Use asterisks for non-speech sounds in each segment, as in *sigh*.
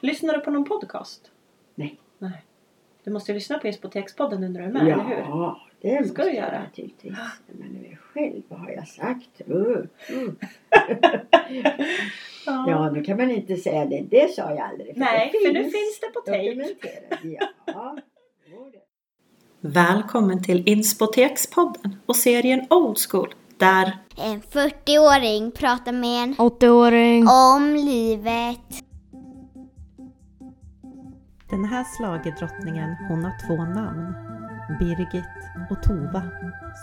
Lyssnar du på någon podcast? Nej. Nej. Du måste ju lyssna på Inspotekspodden nu när du är med, eller hur? ja, det Ska måste du jag göra? naturligtvis. Men nu är jag själv, vad har jag sagt? Uh, Mm. uh. Ja, nu kan man inte säga det. Det sa jag aldrig. Nej, det för nu finns det på tape. dokumenterat. Ja. Jo, det- Välkommen till Inspotekspodden och serien Old School där En 40-åring pratar med en 80-åring. om livet. Den här slagerdrottningen, hon har två namn. Birgit och Tova,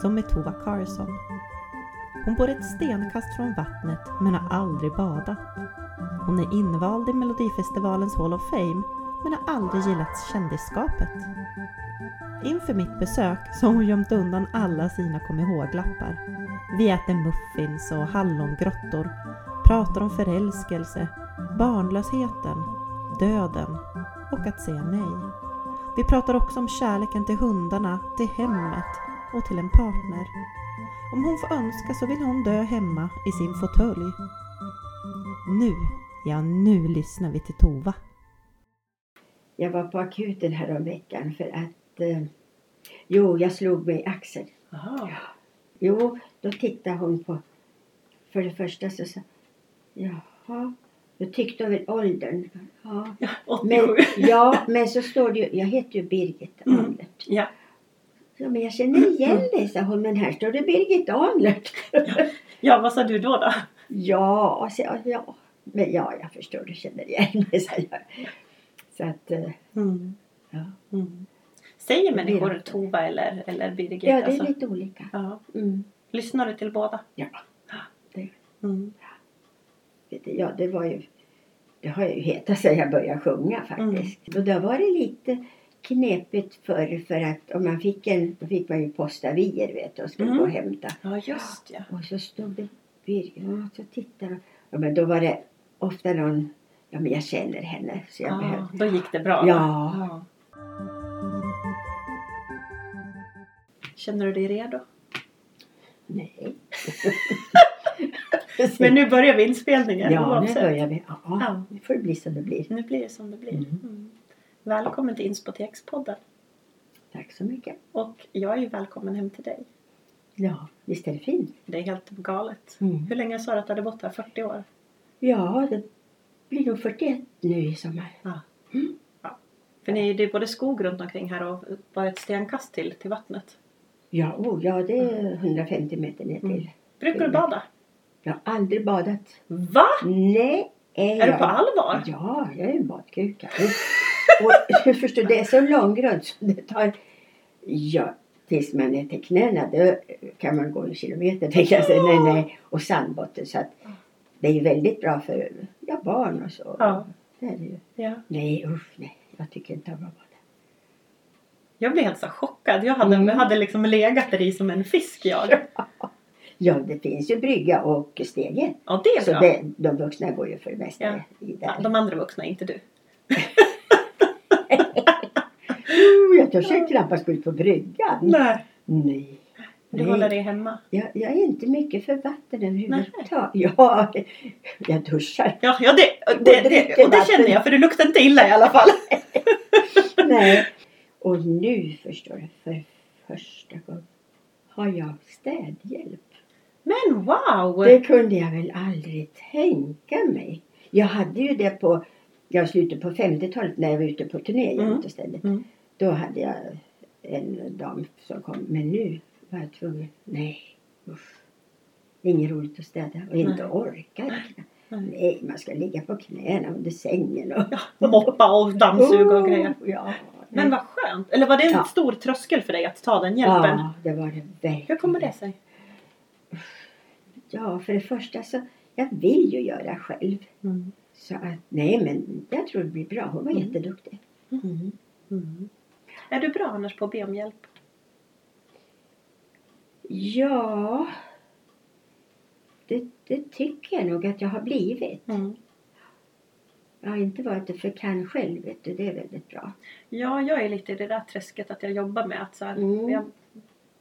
som är Tova Karlsson. Hon bor ett stenkast från vattnet men har aldrig badat. Hon är invald i Melodifestivalens Hall of Fame men har aldrig gillat kändisskapet. Inför mitt besök så har hon gömt undan alla sina kom ihåg-lappar. Vi äter muffins och hallongrottor, pratar om förälskelse, barnlösheten, döden och att säga nej. Vi pratar också om kärleken till hundarna, till hemmet och till en partner. Om hon får önska så vill hon dö hemma i sin fåtölj. Nu, ja nu lyssnar vi till Tova. Jag var på akuten häromveckan för att... Eh, jo, jag slog mig i axeln. Jaha. Jo, då tittade hon på... För det första så sa... Jaha. Då tyckte hon väl åldern. Ja. Ja, 87. Men, ja, men så står det ju, jag heter ju Birgit Mm. Ahlert. Ja. Ja, men jag Mm, känner igen dig, sa hon, men här står det Birgit Ahlert. ja, vad sa du då då? *laughs* ja, sa jag, ja. Men ja, jag förstår, du känner igen mig, sa jag. Så att, eh, ja. Mm. Säger människor Birgit. Tova eller, eller Birgit? ja, det alltså? är lite olika. ja. Mm. Lyssnar du till båda? Ja. Det- Mm. Vet du, Ja, det var ju, det har jag ju hetat sedan jag började sjunga Mm. faktiskt. Och då var det lite knepigt förr för att om man fick en, då fick man ju postavier vet du och skulle Mm. gå och hämta. Ja, just ja. Och så stod det Birgit och så tittade hon. ja, men då var det ofta någon, ja men jag känner henne så jag Ah, behövde. då gick det bra? Ja. va? Ja. Känner du dig redo? Nej. *laughs* Men nu börjar vi inspelningen ja, nu oavsett. börjar vi. Ja, ja, Ja. nu får det bli som det blir. Nu blir det som det blir. Mm. Mm. Välkommen till Inspotekspodden. Tack så mycket. Och jag är ju välkommen hem till dig. Ja, visst är det fint? Det är helt galet. Mm. Hur länge sa du att du hade bott här? 40 år? Ja, det blir nog 41 nu i sommar. För ni, det är både skog runt omkring här och bara ett stenkast till, till vattnet. Ja, oh, ja det är 150 meter ner till. Mm. Brukar du bada? Jag har aldrig badat. Va? Nej. Är du på allvar? Ja, jag är en badkuka. Och- Och jag förstår, det är så långgrunt så det tar... Ja, tills man är till knäna då kan man gå en kilometer tänkte jag säga. Nej, nej. Och sandbotten så att det är ju väldigt bra för ja, barn och så. Ja. Det är det ju. Ja. Nej usch nej, jag tycker inte om att bada. Jag blev helt så chockad. Jag hade, Mm. jag hade liksom legat där i som en fisk jag. Ja, det finns ju brygga och stege. Ja, det är Så bra. det, de vuxna går ju för det mesta i där. Ja, de andra vuxna, inte du. Oh, jag törs ju knappast gå ut på bryggan. Nej. Nej. Du håller dig hemma. Jag, jag är inte mycket för vatten överhuvudtaget. Ja, *laughs* jag duschar. Ja, ja det, det, dricker det, och det vatten. känner jag för du luktar inte illa i alla fall. Nej. Och nu förstår du, för första gången har jag städhjälp. Men wow! Det kunde jag väl aldrig tänka mig. Jag hade ju det på, jag slutet på 50-talet när jag var ute på turné Mm. jämt och ständigt. Mm. Då hade jag en dam som kom. Men nu var jag tvungen. Nej, usch. Det är inget roligt att städa och inte Nej. orka. knappt. Nej. Nej, man ska ligga på knäna under sängen och Moppa och dammsuga och grejer. Oh, Ja, Men vad skönt! Eller var det en Ja. stor tröskel för dig att ta den hjälpen? Ja, det var det verkligen. Hur kommer det sig? Ja, för det första så, jag vill ju göra själv. Mm. Så att, nej men jag tror det blir bra. Hon var Mm. jätteduktig. Är du bra annars på att be om hjälp? Ja, det, det tycker jag nog att jag har blivit. Jag har inte varit för kan själv, vet du. Det är väldigt bra. Ja, jag är lite i det där träsket att jag jobbar med att så här, Mm. jag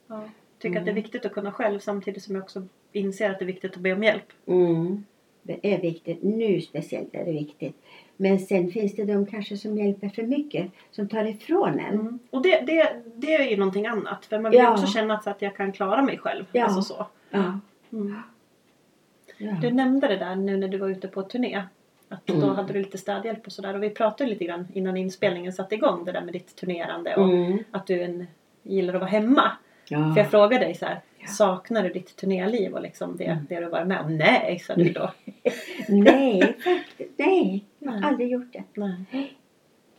ja, tycker att det är Mm. viktigt att kunna själv samtidigt som jag också inser att det är viktigt att be om hjälp. Det är viktigt. Nu speciellt är det viktigt. Men sen finns det de kanske som hjälper för mycket. Som tar ifrån en. Mm. Och det, det, det är ju någonting annat. För man vill Ja. också känna att- att jag kan klara mig själv. Ja. Alltså så. Ja. Mm. ja. Du nämnde det där nu när du var ute på turné. Att då Mm. hade du lite städhjälp och sådär. Och vi pratade lite grann innan inspelningen satte igång det där med ditt turnerande. Och Mm. att du är en, gillar att vara hemma. För jag ja. frågade dig så här, saknar du ditt turnéliv och liksom det, Mm. det du varit med om? Nej, sa du då. Nej, faktiskt. Nej, jag har Nej. aldrig gjort det. Nej.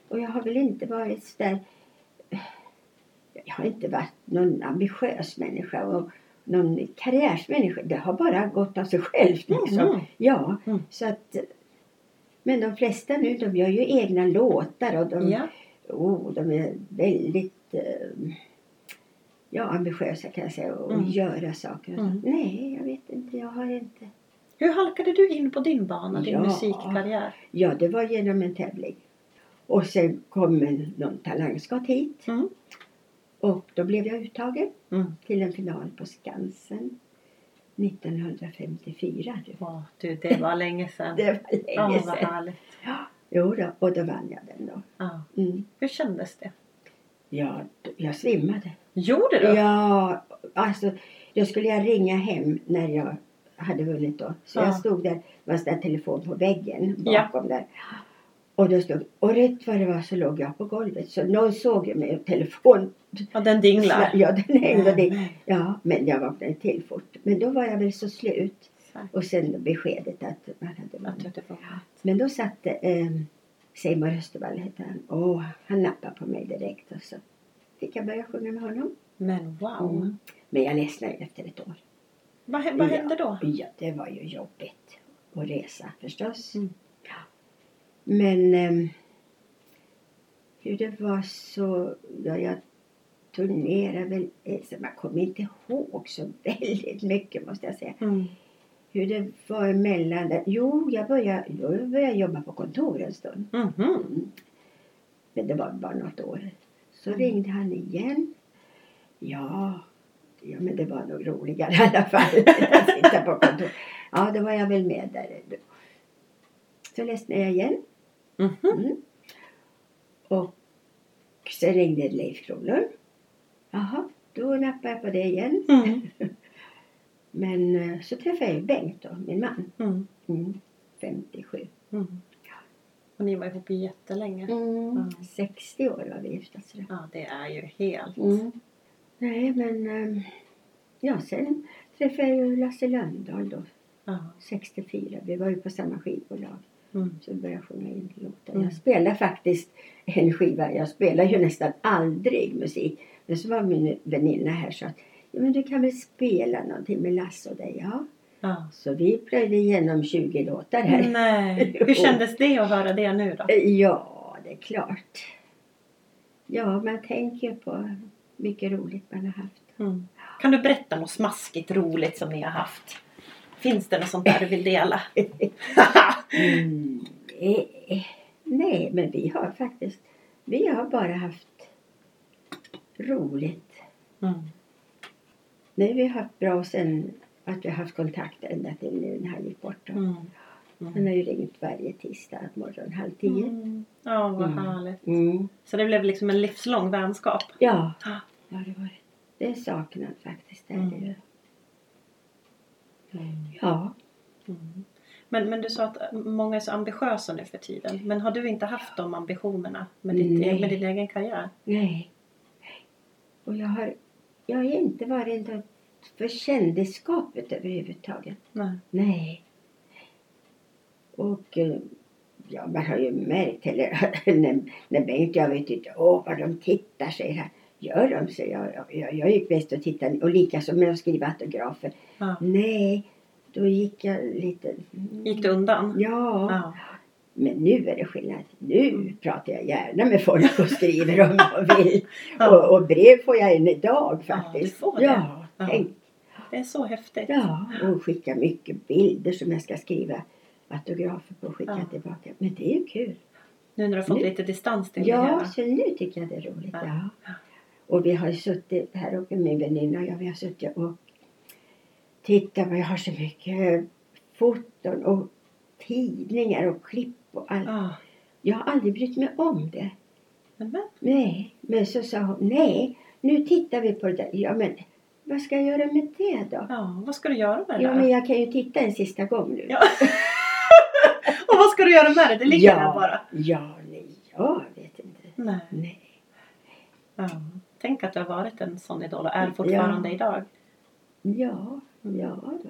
Och jag har väl inte varit så där... Jag har inte varit någon ambitiös människa och någon karriärsmänniska. Det har bara gått av sig självt liksom. Mm. Ja, Mm. så att... Men de flesta nu, de gör ju egna låtar och de, Ja. oh, de är väldigt eh, ja, ambitiösa kan jag säga och Mm. göra saker. och Mm. sånt. Nej, jag vet inte. Jag har inte... Hur halkade du in på din bana, din Ja. musikkarriär? Ja, det var genom en tävling. Och sen kom en- någon talangscout hit. Mm. Och då blev jag uttagen Mm. till en final på Skansen 1954. Det var- Åh, du, *laughs* det var länge sedan. Det var Ja, länge vad sedan. härligt. Jo då, och då vann jag den då. Ja. Mm. Hur kändes det? Ja, d- jag svimmade. Gjorde du? Ja, alltså då skulle jag ringa hem när jag hade vunnit då. Så Ja. jag stod där, det var en sån där telefon på väggen Ja. bakom där. Och då stod, och rätt vad det var så låg jag på golvet. Så någon såg ju mig och telefon. Ja, den dinglar. Mm. Ja, den hängde Nej, dit. Ja, men jag vaknade till fort. Men då var jag väl så slut. Säkert. Och sen beskedet att man hade Att du vunnit. hade vunnit. Men då satt eh, Seymour Östervall hette han. Och han nappade på mig direkt och så fick jag börja sjunga med honom. Men wow. Mm. Men jag ledsnade ju efter ett år. Vad, hä- vad Ja. hände då? Ja, det var ju jobbigt att resa förstås. Mm. Ja. Men ehm, hur det var så, ja, jag turnerade väl, eh, så man kommer inte ihåg så *laughs* väldigt mycket måste jag säga. Mm. Hur det var emellan där. Jo, jag började, då började jag jobba på kontor en stund. Mhm. Men det var bara något år. Så Mm. ringde han igen. Ja, ja men det var nog roligare i alla fall. *laughs* att sitta på kontor. Ja, då var jag väl med där. då. Så ledsnade jag igen. Mhm. Mm. Och så ringde Leif Kronlund. Jaha, då nappade jag på det igen. Mm. Men eh, så träffade jag ju Bengt då, min man. Mm. Mm. 57. Mm. Och ni var ihop jättelänge. Mm. 60 år var vi gifta. Så det Ja, det är ju helt... Mm. Nej, men ehm, ja, sen träffade jag ju Lasse Lönndahl då, Ja. 64. Vi var ju på samma skivbolag. Mm. Så vi började sjunga in låtar. Mm. Jag spelade faktiskt en skiva. Jag spelar ju nästan aldrig musik. Men så var min väninna här så att ja, men du kan väl spela någonting med Lasse och dig? Ja. Ja. Så vi plöjde igenom 20 låtar här. Mm. Nej. Hur Jo. kändes det att höra det nu då? Ja, det är klart. Ja, man tänker på mycket roligt man har haft. Mm. Kan du berätta något smaskigt roligt som ni har haft? Finns det något sånt där du vill dela? Mm, eh, eh, nej, men vi har faktiskt vi har bara haft roligt. Mm. Nej, vi har haft bra sen att vi har haft kontakt ända till nu när han gick bort. då. Mm. Han Mm. har ju ringt varje tisdag morgon halv tio. Mm. Ja, vad Mm. härligt. Mm. Så det blev liksom en livslång vänskap. Ja, Ja. ja, det var det. Det är saknad faktiskt. Det är det Mm. ju. Ja, Mm. Men, men du sa att många är så ambitiösa nu för tiden. Men har du inte haft de ambitionerna med, ditt, Nej. med din egen karriär? nej. Och jag har, jag har inte varit något för kändisskapet överhuvudtaget. Nej. Nej. Och eh, ja, man har ju märkt, eller *laughs* när, när Bengt och jag vet inte, åh vad de tittar säger han. Gör de så? Jag, jag, jag gick bäst och tittade och likaså med att skriva autografer. Ja. Nej, då gick jag lite... Gick det undan? Ja, Ja. men nu är det skillnad. Nu Mm. pratar jag gärna med folk och skriver om jag vill. *laughs* Ja. Och, och brev får jag än idag Ja, du faktiskt. får det. ja, Ja. tänk Det är så häftigt. Ja, och skicka mycket bilder som jag ska skriva autografer på och skicka Ja. tillbaka. Men det är ju kul. Nu när du har fått Nu- lite distans till det Ja, hela. så nu tycker jag det är roligt. Ja. Ja. Och vi har ju suttit här uppe, min väninna och jag, vi har suttit och tittat vad jag har så mycket foton och tidningar och klipp och allt. Ah, Jag har aldrig brytt mig om det. men, men. Nej, men så sa hon, nej, nu tittar vi på det där. Ja, men vad ska jag göra med det då? Ja, vad ska du göra med det Ja, där? men jag kan ju titta en sista gång nu. Ja. Och vad ska du göra med det? Det ligger där bara. Ja, nej, jag vet inte. Nej. Nej. Ja. Tänk att du har varit en sån idol och är fortfarande idag. Ja, ja då.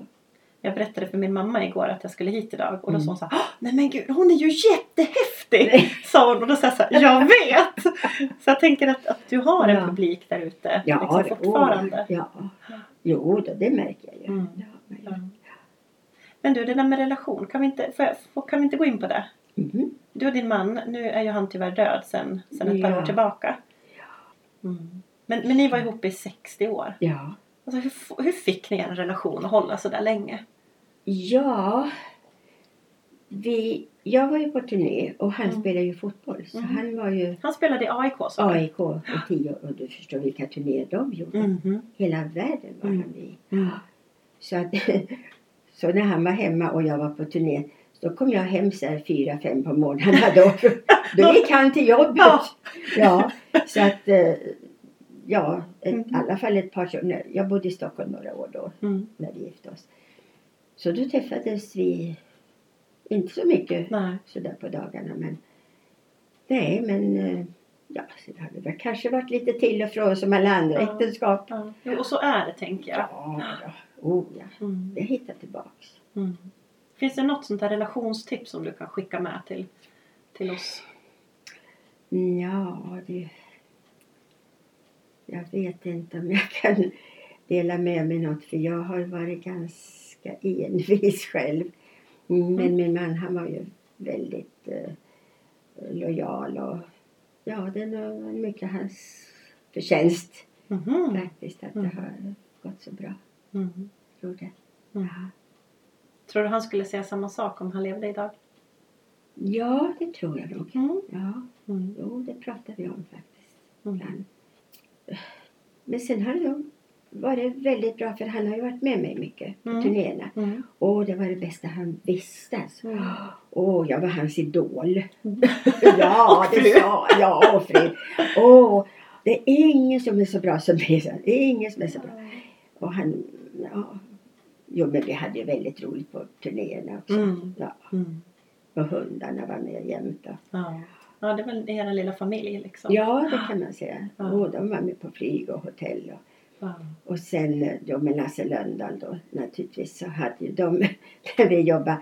Jag berättade för min mamma igår att jag skulle hit idag och då Mm. sa hon så här, "Åh, nej men gud hon är ju jättehäftig! Nej. *laughs* sa hon och då sa jag så här, jag vet! Så jag tänker att, att du har en Ja. publik där ute Ja, liksom, det- fortfarande. åh, ja. Jo då, det märker jag ju. Mm. Ja, men- Ja. Men du det där med relation, kan vi inte, får jag, får- kan vi inte gå in på det? Mhm. Du och din man, nu är ju han tyvärr död sen, sen ett par Ja. år tillbaka. Mm. Men, men ni var ihop i 60 år. ja. Alltså, hur, f- hur fick ni en relation att hålla så där länge? Ja, vi, jag var ju på turné och han Mm. spelade ju fotboll. Så Mhm. han var ju Han spelade i AIK sa du? AIK i tio år och du förstår vilka turnéer de gjorde. Mhm. Hela världen var Mm. han i. Mm. Så, att, *laughs* så när han var hemma och jag var på turné då kom jag hem så här fyra, fem på morgnarna då. *laughs* Då gick han till jobbet. Ja. *laughs* Ja, så att eh, ja, ett, Mhm. i alla fall ett par år. Jag bodde i Stockholm några år då Mm. när vi gifte oss. Så då träffades vi inte så mycket Nej. sådär på dagarna men nej men eh, ja, så det hade väl kanske varit lite till och från som alla andra Ja. äktenskap. Ja. Jo, och så är det tänker jag. Ja, ja. Oh, ja. Mm. Jag hittar tillbaks. Mm. Finns det något sånt där relationstips som du kan skicka med till, till oss? Mm, Ja, det... Jag vet inte om jag kan dela med mig något för jag har varit ganska envis *laughs* själv. Men Mm. min man han var ju väldigt eh, lojal och ja, det är nog mycket hans förtjänst Mhm. faktiskt att Mm. det har gått så bra. Mm. Tror det. Mm. Ja. Tror du han skulle säga samma sak om han levde idag? ja, det tror jag nog. Mm. Ja, Mm. jo, det pratar vi om faktiskt. Mm. ibland. Men sen har det varit väldigt bra för han har ju varit med mig mycket på Mm. turnéerna. Mm. Och det var det bästa han visste. Alltså. Mm. Åh, jag var hans idol. Mm. *laughs* ja, det sa jag. Och fru. Åh, det är ingen som är så bra som mig. sa han. Det är ingen som är så bra. Och han, ja. Jo, men vi hade ju väldigt roligt på turnéerna också. Mm. Ja, Mm. och hundarna var med jämt. Och. Ja. ja, det är väl era lilla familj liksom? Ja, det kan man säga. Ja. Åh, de var med på flyg och hotell. Och. Ja. Och sen eh, då med Lasse Lönndahl då naturligtvis så hade ju de, *laughs* när vi jobbade,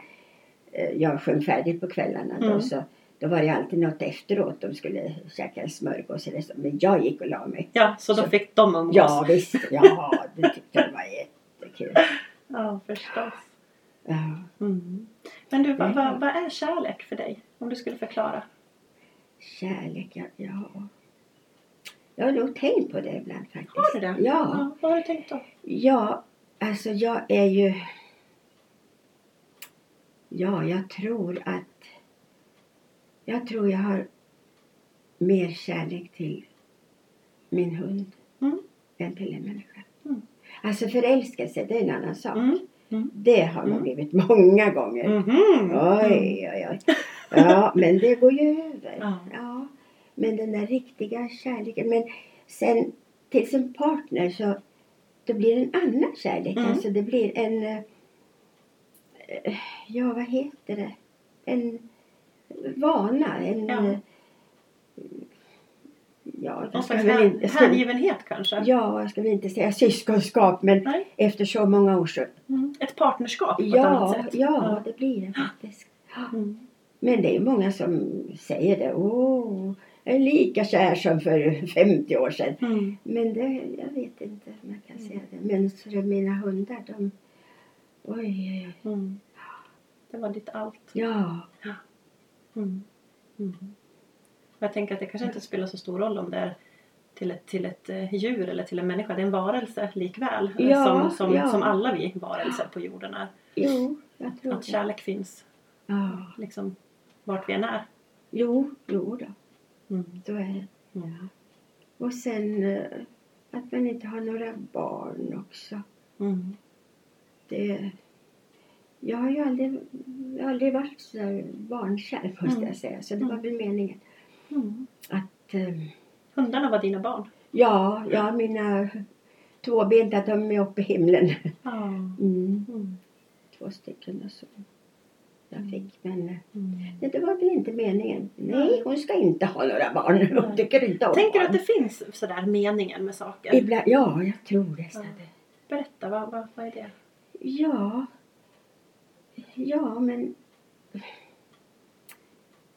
eh, jag sjöng färdigt på kvällarna då Mm. så då var det alltid något efterås, de skulle käka en smörgås eller så, men jag gick och la mig. ja, så då Så- fick de umgås? Ja visst, ja det tyckte jag var jättekul. ja förstås. Ja. Mm. Men du, vad, Mm. vad, vad är kärlek för dig? Om du skulle förklara. Kärlek, ja, ja. Jag har nog tänkt på det ibland faktiskt. Har du det? Ja. Vad har du tänkt då? Ja, alltså jag är ju... Ja, jag tror att... Jag tror jag har mer kärlek till min hund Mm. än till en människa. Mm. Alltså förälskelse, det är en annan sak. Mm. Mm. Det har man Mm. blivit många gånger. Mm-hmm. Oj, oj, oj. Ja, men det går ju över. Ja. Ja. Men den där riktiga kärleken. Men sen till sin partner så då blir det en annan kärlek. Mm. Alltså det blir en... eh, eh, Ja, vad heter det? En vana. En... Ja. eh, Ja, Någon jag ska slags väl inte, hän- jag ska, hängivenhet kanske? ja, jag ska väl inte säga syskonskap men Nej. efter så många år så... Mm. Ett partnerskap på ett annat Ja, sätt? ja, det blir det faktiskt. Mm. Men det är många som säger det. Åh, jag är lika kär som för 50 år sedan. Mm. Men det, jag vet inte om jag kan säga det. Men för mina hundar, de... Oj, oj, oj. Mm. Det var ditt allt. Ja, Mm. Mm. Och Jag tänker att det kanske inte spelar så stor roll om det är till ett, till ett eh, djur eller till en människa. Det är en varelse likväl. eh, Ja, som, som, ja. som alla vi varelser på jorden är. jo, jag tror Att det. kärlek finns Ja. liksom vart vi än är. Jo, jo då. Mm. Så är det. Mm. Och sen eh, att man Mm. inte har några barn också. Mm. Det, Jag har ju aldrig, jag har aldrig varit så där barnkär måste Mm. jag säga. Så det var Mm. väl meningen Mm. att eh, Hundarna var dina barn? Ja, ja mina tvåbenta de är uppe i himlen. Ja. Mm, Mm. två stycken och så. Jag fick men eh, Mm. det var väl inte meningen. Nej, hon ska inte ha några barn. Hon tycker inte om Tänker du barn. att det finns sådär meningen med saker? Ibland, ja, jag tror nästan Ja. det. Berätta, vad, vad, vad är det? Ja. Ja, men...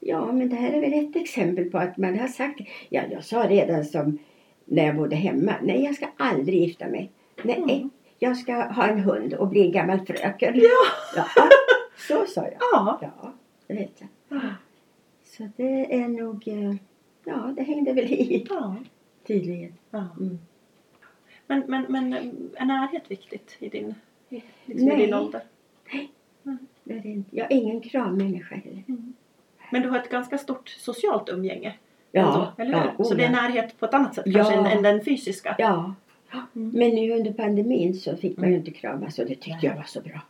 Ja, men det här är väl ett exempel på att man har sagt... Ja, jag sa redan som när jag bodde hemma. Nej, jag ska aldrig gifta mig. Nej, eh, Mm. jag ska ha en hund och bli en gammal fröken. Ja! Ja, så sa jag. Ja. Ja, det vet jag. Så det är nog... eh, Ja, det hängde väl i ja. tydligen. ja. Mm. Men, men, men eh, är närhet viktigt i din, i, liksom i Nej. din ålder? Det är inte, jag är ingen krammänniska heller. Men du har ett ganska stort socialt umgänge? Ja, ändå, eller ja, hur? Så oh, det är ja. närhet på ett annat sätt Ja. kanske än, än den fysiska? Ja. Mm. Men nu under pandemin så fick man ju inte kramas och det tyckte jag var så bra.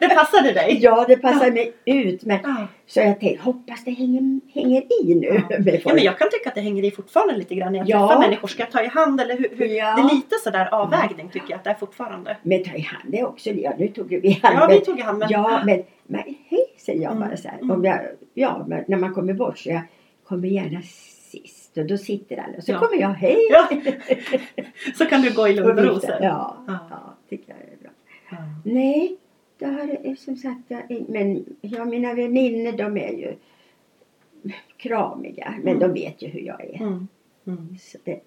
Det passade dig? Ja, det passar mig utmärkt. Ja. Så jag tänkte, hoppas det hänger, hänger i nu Ja. *laughs* med Ja, men folk. jag kan tycka att det hänger i fortfarande lite grann när jag Ja. träffar människor. Ska jag ta i hand eller hur? hur? Ja. Mm. Det är lite sådär avvägning tycker jag att det är fortfarande. Men ta i hand det också. Ja, nu tog vi i hand. Ja, vi men- tog i hand men... ja, men, men hej säger jag Mm. bara så här. Mm. Om jag, ja, men när man kommer bort så jag kommer gärna sist och då sitter alla. Så Ja. kommer jag, hej! *laughs* Ja. Så kan du gå i lugn och ro viftar. sen. ja, Ja. ja, tycker jag är bra. Ja. Nej, det har eh, som sagt jag in- Men ja, mina väninnor de är ju kramiga. Men Mm. de vet ju hur jag är. Mm. Mm. Så det,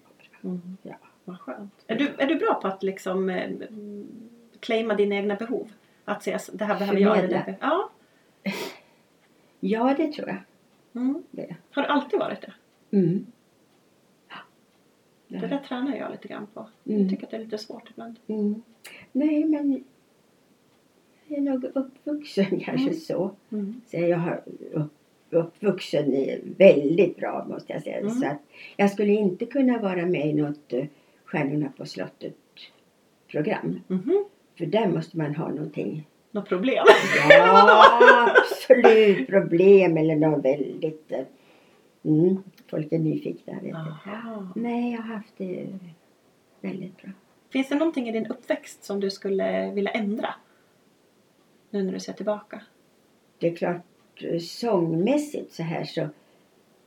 Mm. Ja. Vad skönt. Är du, är du bra på att liksom eh, mm, claima dina egna behov? Att säga så- det här behöver jag. Förmedla. Eller det. Ja. ja, det tror jag. Mm. Det. Har du alltid varit det? Mm. Ja. Det där tränar jag lite grann på. Mm. Jag tycker att det är lite svårt ibland. Mm. Nej, men jag är nog uppvuxen *laughs* kanske Mm. så. så. Jag har upp, uppvuxen i väldigt bra måste jag säga. Mm. Så att jag skulle inte kunna vara med i något eh, Stjärnorna på slottet-program. Mhm. För där måste man ha någonting *laughs* Något problem? Ja, absolut problem eller något väldigt... eh, Mm, folk är nyfikna. Vet du. Aha. Nej, jag har haft det eh, väldigt bra. Finns det någonting i din uppväxt som du skulle vilja ändra? Nu när du ser tillbaka. Det är klart, eh, sångmässigt så här så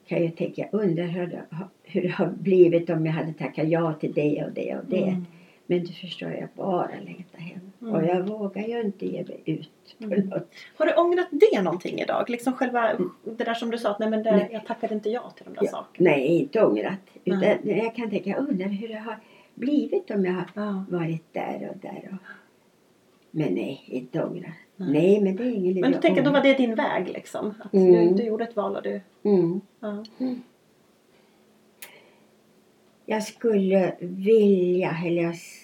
kan jag tänka, jag undrar hur det, har- hur det har blivit om jag hade tackat ja till det och det och det. Mm. Men du förstår, jag bara längtar hem. Mm. Och jag vågar ju inte ge mig ut på Mm. något. Har du ångrat det någonting idag? Liksom själva det där som du sa att nej men det, Mm. Nej. jag tackade inte ja till de där Ja. sakerna. Nej, inte ångrat. Utan Nej. jag kan tänka, jag undrar hur det har blivit om jag har Ja. varit där och där. Och... Men nej, inte ångrar. Nej. Nej. men det är ingen idé. Men du att tänker då ångra. var det din väg liksom? Att du, Mm. du gjorde ett val och du... Mm. Ja. Jag skulle vilja, eller jag... s-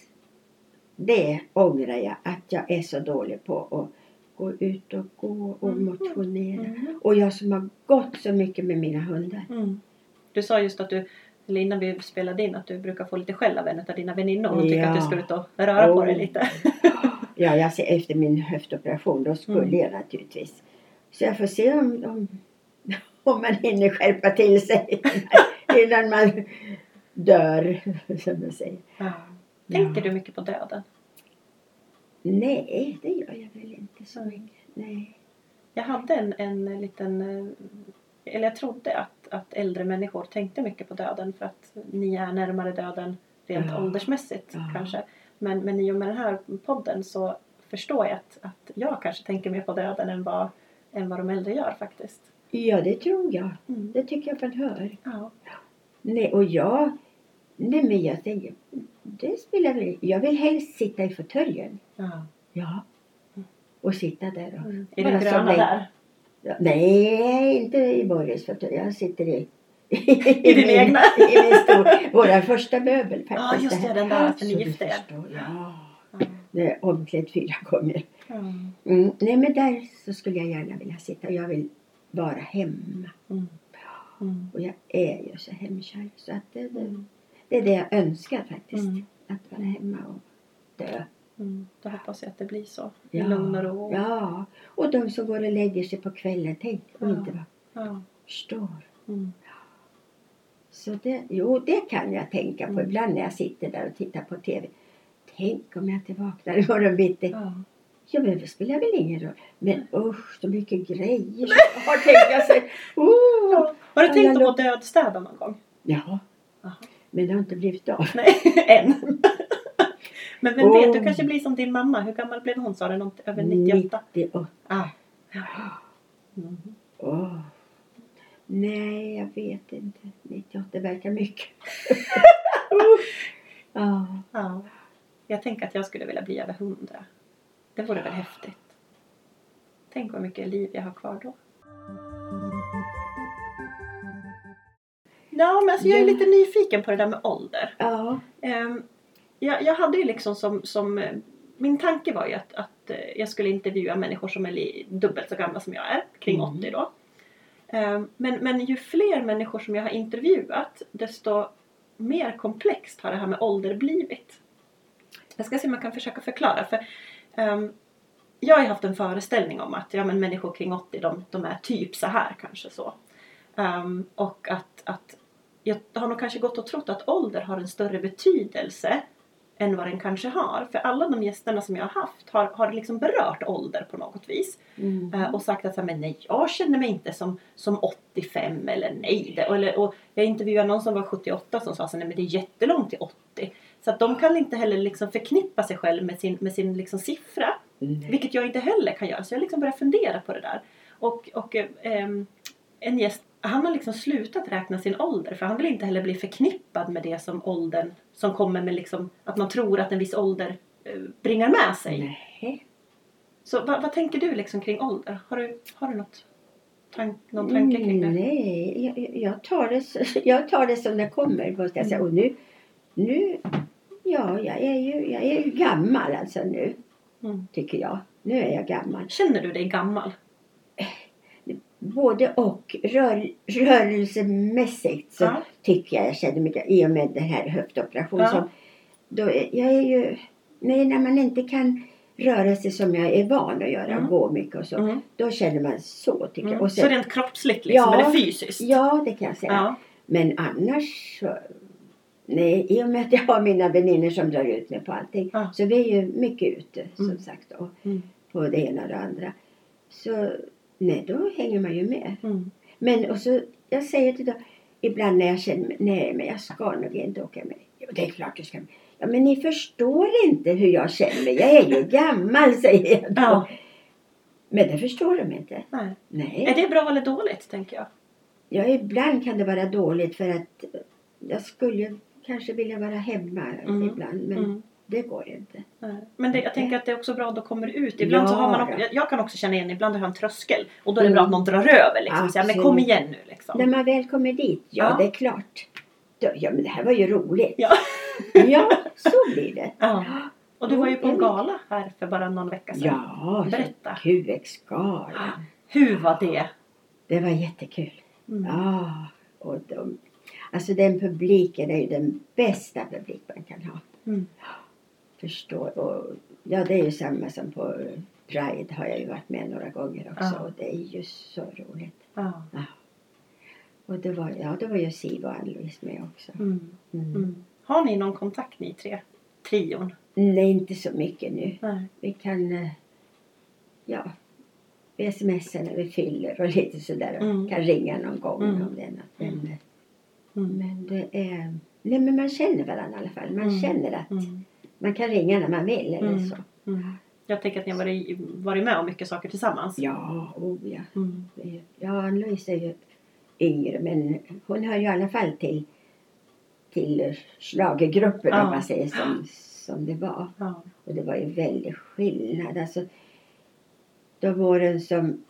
det ångrar jag, att jag är så dålig på att gå ut och gå och Mm. motionera. Mm. Och jag som har gått så mycket med mina hundar. Du sa just att du, eller innan vi spelade in, att du brukar få lite skäll av en av dina väninnor. Hon tycker Ja. att du ska ut och röra på Oh. dig lite. Ja, jag ser efter min höftoperation, då skulle Mm. jag naturligtvis. Så jag får se om, om, *laughs* om man hinner skärpa till sig *laughs* innan man dör, *laughs* som jag säger. Tänker du mycket på döden? Nej, det gör jag väl inte så mycket. Nej. Jag hade en, en liten... eh, Eller jag trodde att, att äldre människor tänkte mycket på döden för att ni är närmare döden rent Ja. åldersmässigt Ja. kanske. Men, men i och med den här podden så förstår jag att, att jag kanske tänker mer på döden än vad, än vad de äldre gör faktiskt. Ja, det tror jag. Mm. Det tycker jag man hör. Ja. Nej, och jag... Nej, men jag tänker... Det spelar väl Jag vill helst sitta i fåtöljen. ja. Ja. Och sitta där och... I det Bara som Mm. gröna dig. där. Ja, nej, inte i Borges fåtölj. Jag sitter i... *laughs* I din egna. *laughs* I min stor, våra första möbel faktiskt. Ja, just det, här. den där för Så ni du gifte er. förstår, Ja. Ja. Det är omklädd fyra gånger. Mm. Mm. Nej, men där så skulle jag gärna vilja sitta. Jag vill vara hemma. Mm. Och jag är ju så hemkär. Så att det, det, Mm. det är det jag önskar faktiskt. Mm. Att vara hemma och dö. Mm. Då hoppas jag att det blir så. I Ja. lugn och ro. Ja, och de som går och lägger sig på kvällen, tänk och Ja. inte Ja. förstår. Mm. Så det, jo, det kan jag tänka på Mm. ibland när jag sitter där och tittar på TV. Tänk om jag inte vaknar imorgon bitti. Ja. Ja, men det spelar väl ingen roll. Men usch, så mycket grejer som jag har tänkt jag *laughs* sig. Oh. Har du Ja, tänkt jag att gå dödstäda någon gång? Ja, Aha. men det har inte blivit av. Nej, *laughs* än. Men vem vet, du Oh. kanske blir som din mamma. Hur gammal blev hon sa du? Något, över 98? 98. Ah. Ja. Mm. Åh. Nej, jag vet inte. 98 verkar *laughs* mycket. Ja. Ja. Jag tänker att jag skulle vilja bli över 100. Det vore väl häftigt? Tänk vad mycket liv jag har kvar då. Ja, men alltså jag är Ja. lite nyfiken på det där med ålder. Ja. Ehm, jag, jag hade ju liksom som, som eh, min tanke var ju att, att eh, jag skulle intervjua människor som är li, dubbelt så gamla som jag är, kring Mm. 80 då. Ehm, men, men ju fler människor som jag har intervjuat desto mer komplext har det här med ålder blivit. Jag ska se om jag kan försöka förklara. För, ehm, jag har ju haft en föreställning om att ja, men människor kring 80 de, de är typ så här kanske så. Ehm, och att, att jag har nog kanske gått och trott att ålder har en större betydelse än vad den kanske har. För alla de gästerna som jag har haft har, har liksom berört ålder på något vis. Mm. Eh, och sagt att så här, men nej, jag känner mig inte som, som 85 eller nej. Det, eller, och jag intervjuade någon som var 78 som sa så här, nej men det är jättelångt till 80. Så att de kan inte heller liksom förknippa sig själv med sin, med sin liksom siffra. Mm. Vilket jag inte heller kan göra. Så jag liksom började fundera på det där. Och, och eh, ehm, en gäst, han har liksom slutat räkna sin ålder. För han vill inte heller bli förknippad med det som åldern, som kommer med liksom, att man tror att en viss ålder eh, bringar med sig. Nej. Så vad, vad tänker du liksom kring ålder? Har du, har du något tank, någon tanke kring Mm. det? Nej, jag- jag, jag, tar det, så- *laughs* jag tar det som det kommer. Måste jag Mm. säga. Och nu, nu, ja, jag är, ju, jag är ju gammal alltså nu, Mm. tycker jag. Nu är jag gammal. Känner du dig gammal? Både och. Rör, rörelsemässigt så Ja. tycker jag jag känner mig I och med den här höftoperationen. Ja. som- Då är, jag är ju... Nej, när man inte kan röra sig som jag är van att göra, Mm. gå mycket och så. Mm. Då känner man så tycker jag. Mm. Och Så sen, rent kroppsligt liksom, Ja. eller fysiskt? ja, det kan jag säga. Ja. Men annars så... Nej, i och med att jag har mina vänner som drar ut mig på allting. Ja. Så vi är ju mycket ute som Mm. sagt. Och Mm. på det ena och det andra. Så nej, då hänger man ju med. Mm. Men och så, jag säger till dem, ibland när jag känner mig, nej men jag ska nog inte åka med. Jo, det är klart du ska med. Ja, men ni förstår inte hur jag känner mig. Jag är ju gammal, *laughs* säger jag då. Ja. Men det förstår de inte. Nej. Är Nej. det bra eller dåligt, tänker jag? Ja, ibland kan det vara dåligt för att jag skulle kanske vilja vara hemma Mm. ibland, men Mm. det går inte. Nej. Men det, jag tänker att det är också bra att det kommer ut. Ibland så Ja, har man, också- ja. jag, jag kan också känna igen, ibland har jag en tröskel och då är det Mm. bra att någon drar över. Liksom. Så jag, men Absolut. kom igen nu liksom. När man väl kommer dit, ja, Ja. det är klart. Då, ja, men det här var ju roligt. Ja. *laughs* ja, så blir det. Ja. Och du var ju på en Mm. gala här för bara någon vecka Alltså, sedan. Ja, Berätta. QX-galan. Hur var det? Det var jättekul. Mm. Ja, Ah, och de, alltså den publiken är ju den bästa publik man kan ha. Mm. Förstår. Och, ja, det är ju samma som på Pride har jag ju varit med några gånger också Ja. och det är ju så roligt. Ja. Och det var, ja, det var ju Siv och Ann-Louise med också. Mm. Mm. Mm. Har ni någon kontakt ni tre? Trion? Nej, inte så mycket nu. Nej. Vi kan, eh, ja, vi smsar när vi fyller och lite sådär. och Mm. Kan ringa någon gång Mm. om det är något. Men, eh, Mm. Men det är... Nej men man känner varandra i alla fall. Man Mm. känner att Mm. man kan ringa när man vill eller Mm. så. Mm. Jag tänker att ni har varit, varit med om mycket saker tillsammans. Ja, oh ja. Mm. Det är ju- Ja, Louise är ju yngre men hon hör ju i alla fall till, till schlagergruppen Ja. om man säger som, som det var. Ja. Och det var ju väldigt skillnad. Alltså, de åren som,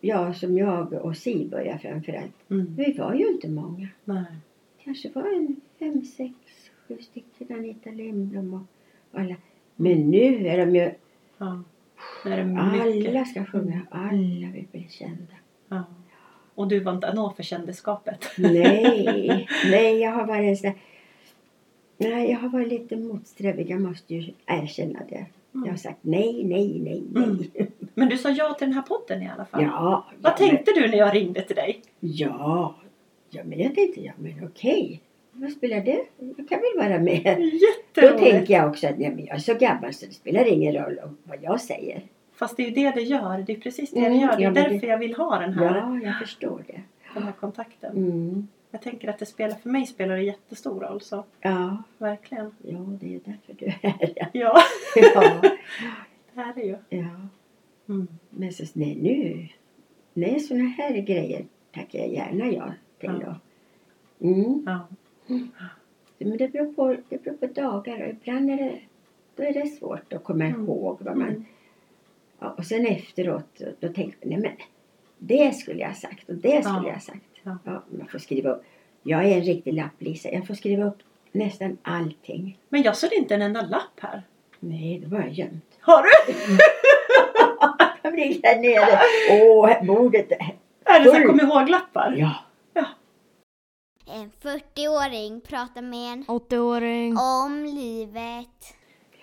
ja, som jag och Siv började framförallt. Mm. Vi var ju inte många. Nej. kanske var en fem, sex, sju stycken Anita Lindblom och och alla. Men nu är de ju, Ja. Det är mycket. alla ska sjunga, alla vill bli kända. Ja. Och du var inte nå för kändisskapet. *laughs* Nej, nej jag har varit en sån där, Nej, jag har varit lite motsträvig. Jag måste ju erkänna det. Jag har Mm. sagt nej, nej, nej, nej. Mm. Men du sa ja till den här podden i alla fall. Ja, ja, Vad tänkte du när jag ringde till dig? men, ja, ja, men jag tänkte, ja men okej. Vad spelar det? Jag kan väl vara med. Då Jätteroligt! tänker jag också att nej, men jag är så gammal så det spelar ingen roll om vad jag säger. Fast det är ju det det gör. Det är precis det Mm, det gör. Det ja, är men det- därför jag vill ha den här, Ja, jag förstår det. den här kontakten. Mm. Jag tänker att det spelar, för mig spelar det jättestor roll. Så Ja, verkligen. ja, det är därför du är här. *laughs* Ja, Ja, det här är ju. ja. Mm. Men så, nej nu, nej såna här grejer tackar jag gärna ja till då. Mm. Ja. Men det beror, på, det beror på dagar och ibland är det, då är det svårt att komma Mm. ihåg vad man... Mm. Ja, och sen efteråt då tänkte jag, nej men det skulle jag ha sagt och det skulle jag ha sagt. Ja. man får skriva upp. Jag är en riktig lapplisa. Jag får skriva upp nästan allting. Men jag såg inte en enda lapp här. Nej, det var jag gömt. Har du? Jag blir där nere. Åh, här- bordet. där. Är det så här Oj. kom ihåg-lappar? Ja. En 40-åring pratar med en 80-åring. om livet.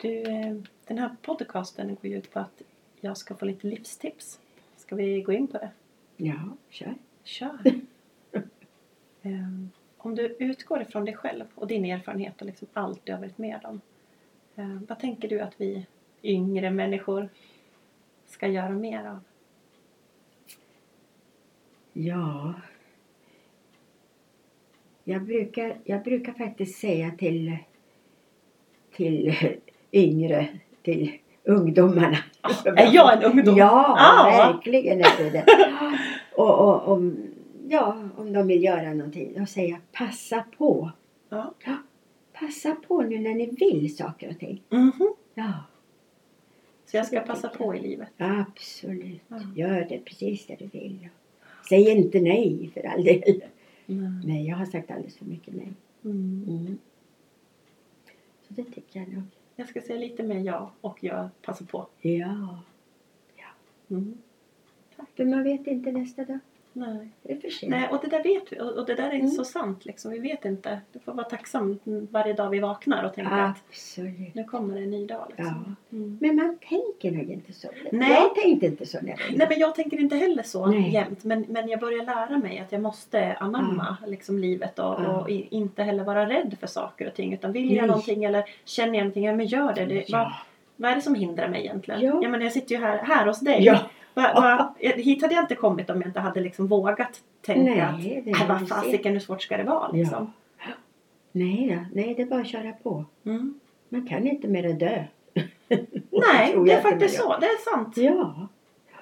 Du, eh, den här podcasten går ju ut på att jag ska få lite livstips. Ska vi gå in på det? Ja, kör. *laughs* Kör! Ehm, Om du utgår ifrån dig själv och din erfarenhet och liksom allt du har varit med om. eh, Vad tänker du att vi yngre människor ska göra mer av? Ja. Jag brukar, jag brukar faktiskt säga till, till yngre, till *laughs* ungdomarna. är jag en ungdom? Ja, Ah. verkligen är du *laughs* det. Och, och om, ja, om de vill göra någonting, då säger jag passa på. Ja. Passa på nu när ni vill saker och ting. Mhm. Ja, Så jag ska passa på i livet. absolut. Ja. Gör det precis det du vill. Säg inte nej för all del. Mm. Nej, jag har sagt alldeles för mycket nej. Mm. Mm. Så det tycker jag nog. Jag ska säga lite mer ja och jag passar på. Ja. Mm. För man vet inte nästa dag. Nej. Det är för sent. Nej, och det där vet vi. Och och det där är Mm. så sant. Liksom. Vi vet inte. Du får vara tacksam varje dag vi vaknar och tänka att Absolut. nu kommer det en ny dag. Liksom. Mm. Men man tänker nog inte så. Nej. Jag tänkte inte så när jag var Nej, yngre. men jag tänker inte heller så Nej. jämt. Men, men jag börjar lära mig att jag måste anamma Mm. liksom, livet och, Ja. och i, inte heller vara rädd för saker och ting. Utan vill jag Nej. någonting eller känner jag någonting, ja men gör det. det vad, Ja. vad är det som hindrar mig egentligen? Ja. Ja, men jag sitter ju här, här hos dig. ja. Va, va, hit hade jag inte kommit om jag inte hade liksom vågat tänka att Nej, det "Äh, är vad för sent. fasiken, hur svårt ska det vara? Liksom. Nej, då. Nej, det är bara att köra på. Mm. Man kan inte mer än dö. Nej, *laughs* tror det jag är att det faktiskt var så. Det är sant. Ja.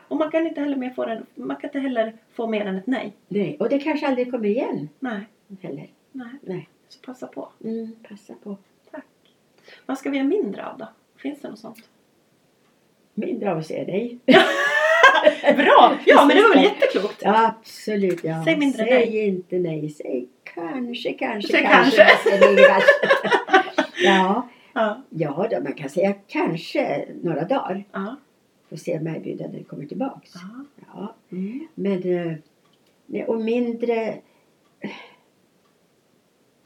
Och man kan inte heller, mer få, den, man kan inte heller få mer än ett nej. Nej. Och det kanske aldrig kommer igen Nej, heller. nej. Nej. Så passa på. Mm, passa på. Vad ska vi göra mindre av då? Finns det något *laughs* sånt? Mindre av att säga nej. Bra! Ja, men det var väl jätteklokt? Absolut, ja. Säg mindre Säg inte nej. Säg kanske, kanske, Säg kanske. kanske. Säg nej, kanske. *laughs* ja, Ja. ja då, man kan säga kanske några dagar. ja. Får se om erbjudandet kommer tillbaks. ja. Ja. Mm. Men, eh, nej, och mindre...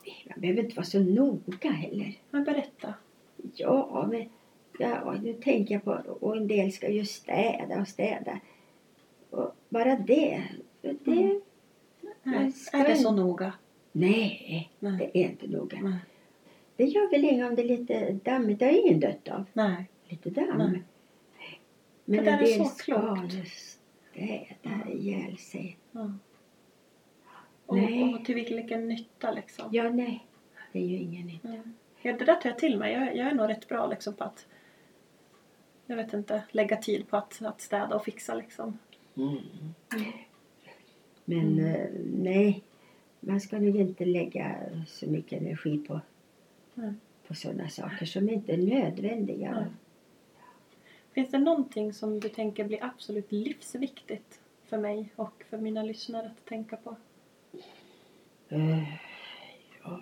Nej, Man behöver inte vara så noga heller. Men berätta. Ja, men ja, nu tänker jag på Och en del ska ju städa och städa. Och bara det. För det Mm. Nej. Jag ska Är det så inte. noga? Nej, Nej. det är inte noga. Nej. Det gör väl inget om det är lite dammigt. Det har ingen dött av. Nej. Lite damm. Nej. Men Det där en är del så ska klokt. ju städa ihjäl sig. Ja. Och, Nej. och till vilken nytta liksom? Ja, nej. Det är ju ingen nytta. Ja. Ja, det där tar jag till mig. Jag, jag är nog rätt bra liksom på att jag vet inte, lägga tid på att, att städa och fixa liksom. Mm. Men eh, nej, man ska nog inte lägga så mycket energi på, Nej. på sådana saker som inte är nödvändiga. Nej. Finns det någonting som du tänker blir absolut livsviktigt för mig och för mina lyssnare att tänka på? Eh, ja.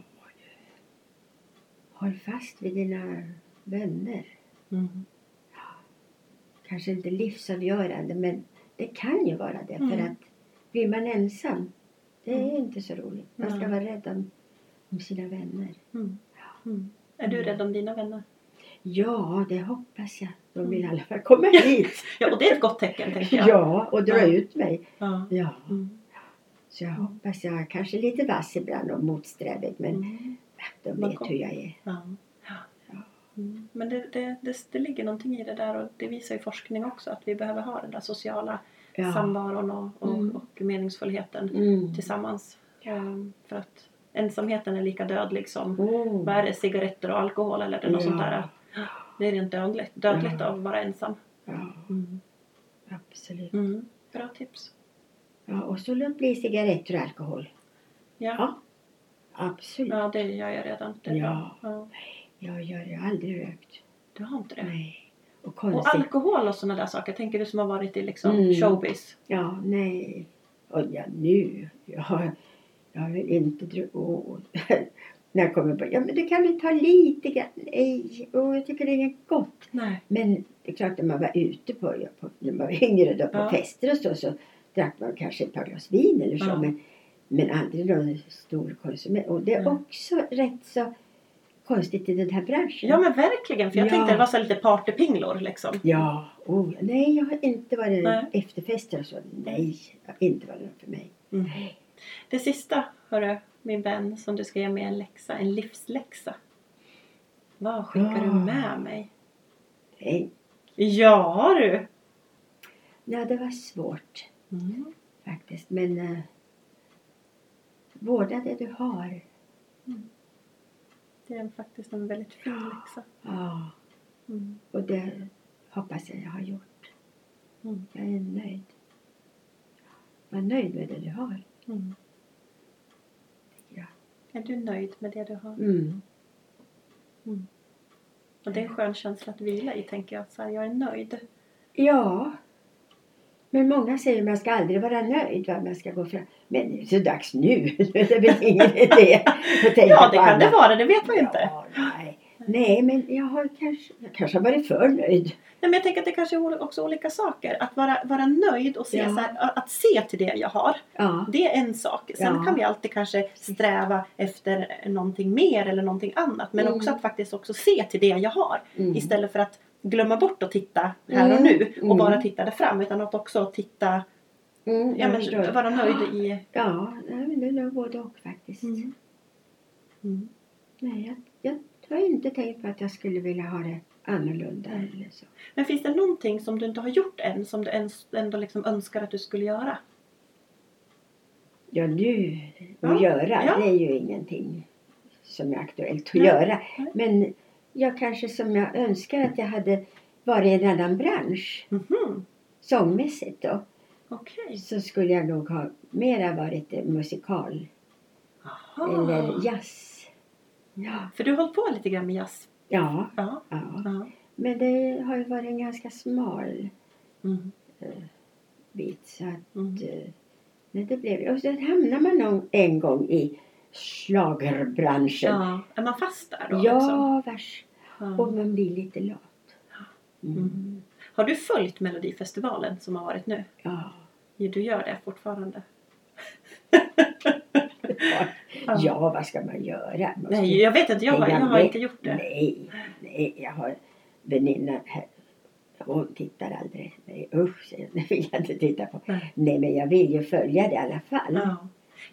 Håll fast vid dina vänner. Mm. Kanske inte livsavgörande, men det kan ju vara det. För Mm. att blir man ensam, det är Mm. inte så roligt. Man ska Nej. vara rädd om, om sina vänner. Mm. Är du rädd om dina vänner? Ja, det hoppas jag. De Mm. vill i alla fall komma hit. Ja, och det är ett gott tecken tänker jag. *laughs* Ja, och dra Ja. ut mig. Ja. Ja, Mm. så jag hoppas jag kanske är lite vass ibland och motsträvig men Mm. de Man vet kom- hur jag är. Ja. Mm. Men det, det, det, det ligger någonting i det där och det visar ju forskning också att vi behöver ha den där sociala Ja. samvaron och, och, Mm. och meningsfullheten Mm. tillsammans. Ehm, För att ensamheten är lika dödlig som Oh. vad är det, cigaretter och alkohol eller det, något Ja. sånt där. Det är rent dödligt, dödligt Ja. Mm. av att vara ensam. Ja, absolut. Mm. Bra tips. Ja, och så låt bli cigaretter och alkohol. Ja, Ja, absolut. ja det gör jag redan. Det är Ja. bra. Ja. Jag gör ju aldrig rökt. Du har inte det? Nej. Och Och konstigt. alkohol och sådana där saker, tänker du som har varit i liksom Mm. showbiz? Ja, nej. Och ja, nu. Jag har, jag har väl inte druckit. åh. *laughs* När jag kommer på. Ja, men du kan väl ta lite grann. Nej, åh, jag tycker det är inget gott. Nej. Men det är klart när man var ute på, ja, på när man var yngre då på Ja. fester och så, så drack man kanske ett par glas vin eller så. Ja. Men, men aldrig någon stor konsument. Och det är Nej. också rätt så konstigt i den här branschen. Ja men verkligen, för jag Ja. tänkte det var så här lite partypinglor liksom. Ja, oh, nej jag har inte varit Nej. efterfester och så. Nej, jag har inte varit något för mig. Mm. Det sista, hörru, min vän, som du ska ge mig en läxa, en livsläxa. Vad skickar du Ja. med mig? Nej, Ja du! nej det var svårt Mm. faktiskt. Men eh, vårda det du har. Det är faktiskt en väldigt fin läxa. Ja, Mm. och det hoppas jag jag har gjort. Mm. Jag är nöjd. Var nöjd med det du har. Mm. Ja. Är du nöjd med det du har? Mm. Och det är en skön känsla att vila i, tänker jag. Så här, jag är nöjd. Ja. Men många säger att man ska aldrig vara nöjd, va? man ska gå fram. Men det är så dags nu, *laughs* Nu är det väl ingen idé att tänka Ja, det på kan det annat. vara, det vet man ju inte. Ja, nej. nej, men jag har kanske, jag kanske har varit för nöjd. Nej, men jag tänker att det kanske är ol- också olika saker. Att vara, vara nöjd och se, Ja. så här, a- att se till det jag har, Ja, det är en sak. Sen Ja. kan vi alltid kanske sträva efter någonting mer eller någonting annat. Men Mm. också att faktiskt också se till det jag har. mm. Istället för att glömma bort att titta här och Mm. nu och Mm. bara titta där fram. Utan att också titta, Mm, ja, jag men, förstår. vara nöjd i... Ja, nej, men det är nog både och faktiskt. Mm. Mm. Nej, jag, jag har inte tänkt på att jag skulle vilja ha det annorlunda Nej. eller så. Men finns det någonting som du inte har gjort än som du ens, ändå liksom önskar att du skulle göra? Ja, nu Ja, att göra, ja. det är ju ingenting som är aktuellt att Nej, göra. nej. Men jag kanske som jag önskar att jag hade varit i en annan bransch, Mhm, sångmässigt då, Okej. så skulle jag nog ha mera varit eh, musikal Aha. eller jazz. Ja, Ah. För du har hållit på lite grann med jazz. ja, Ja. ja. ja. Men det har ju varit en ganska smal Mm. bit så att Mm. eh, nej, det blev Och sen hamnar man nog en gång i schlagerbranschen. Ja, är man fast där då? liksom? Ja, vars. Ja. Och man blir lite lat. Mm. Har du följt Melodifestivalen som har varit nu? Ja. Ja, Du gör det fortfarande? Ja. ja, vad ska man göra? Man Nej, ska- jag vet inte. Jag, har- jag har inte gjort det. Nej, nej, jag har väninna här. Hon tittar aldrig. Nej, usch, säger hon, *laughs* det vill jag inte titta på. Nej. Nej, men jag vill ju följa det i alla fall. Ja.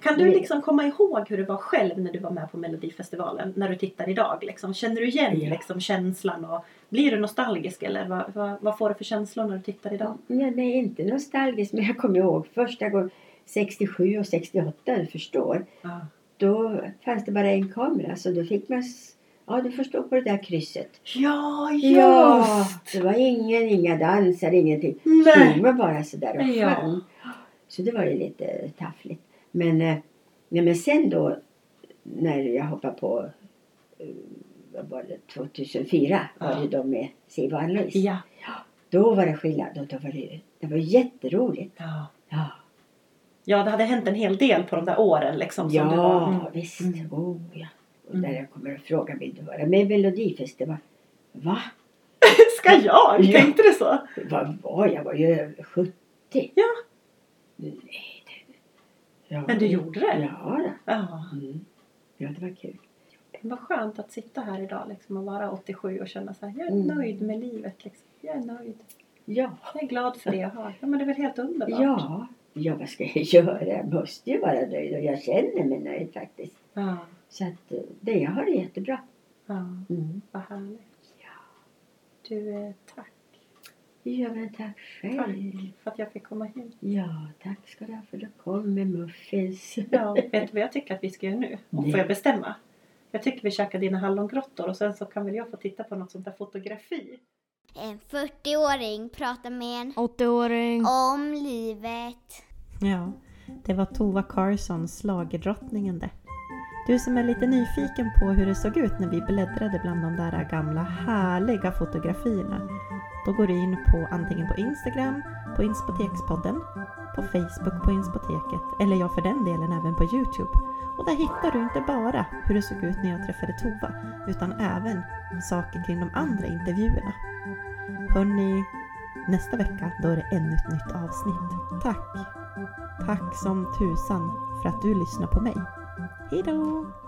Kan du Nej. liksom komma ihåg hur det var själv när du var med på Melodifestivalen? När du tittar idag? Liksom? Känner du igen Ja. liksom, känslan? Och, blir du nostalgisk? Eller vad, vad, vad får du för känslor när du tittar idag? Ja, nej, inte nostalgiskt, men jag kommer ihåg första gången 67 och 68, du förstår. Ja. Då fanns det bara en kamera, så då fick man... s- Ja, du får stå på det där krysset. Ja, Ja, just! det var ingen, inga dansare, ingenting. Nej. Stod man bara sådär och Ja. sjöng. Så det var ju lite taffligt. Men, eh, nej, men sen då, när jag hoppade på, eh, vad var det, 2004 var Ja. det då med Siw och Ann-Louise. Ja. Då var det skillnad. Då, då var det, det var jätteroligt. Ja. Ja. ja, det hade hänt en hel del på de där åren. Liksom, som ja, du var. Mm. visst. Mm. Oh, ja. Och Mm. när jag kommer och frågar vill du vara med i Melodifestivalen? Va? *laughs* Ska jag? Ja. Tänkte du så? Vad var jag? Jag var ju över 70. Ja. Nej, det... ja. Men du gjorde det? Ja, då. Ja. Mm. ja, det var kul. Vad skönt att sitta här idag liksom, och vara 87 och känna så här, jag är Mm. nöjd med livet. Liksom. Jag är nöjd. Ja. Jag är glad för det jag har. Ja, men det är väl helt underbart? Ja. Ja, vad ska jag *laughs* göra? Jag måste ju vara nöjd och jag känner mig nöjd faktiskt. Ja, Så att eh, det, jag har det jättebra. ja Mm. vad härligt. Du, eh, tack Ja, men tack själv. för att jag fick komma hit. Ja, tack ska du ha för att du kom med muffins. *laughs* Ja, vet du vad jag tycker att vi ska göra nu? Och Nej. får jag bestämma? Jag tycker vi käkar dina hallongrottor och sen så kan väl jag få titta på något sånt där fotografi. En 40-åring pratar med en 80-åring. om livet. Ja, det var Tova Carlsson, slagerdrottningen det. Du som är lite nyfiken på hur det såg ut när vi bläddrade bland de där gamla härliga fotografierna. Då går du in på antingen på Instagram, på Inspotekspodden, på Facebook på Inspoteket eller ja för den delen även på Youtube. Och där hittar du inte bara hur det såg ut när jag träffade Tova utan även saker kring de andra intervjuerna. Hörni, nästa vecka då är det ännu ett nytt avsnitt. Tack! Tack som tusan för att du lyssnar på mig. Hejdå!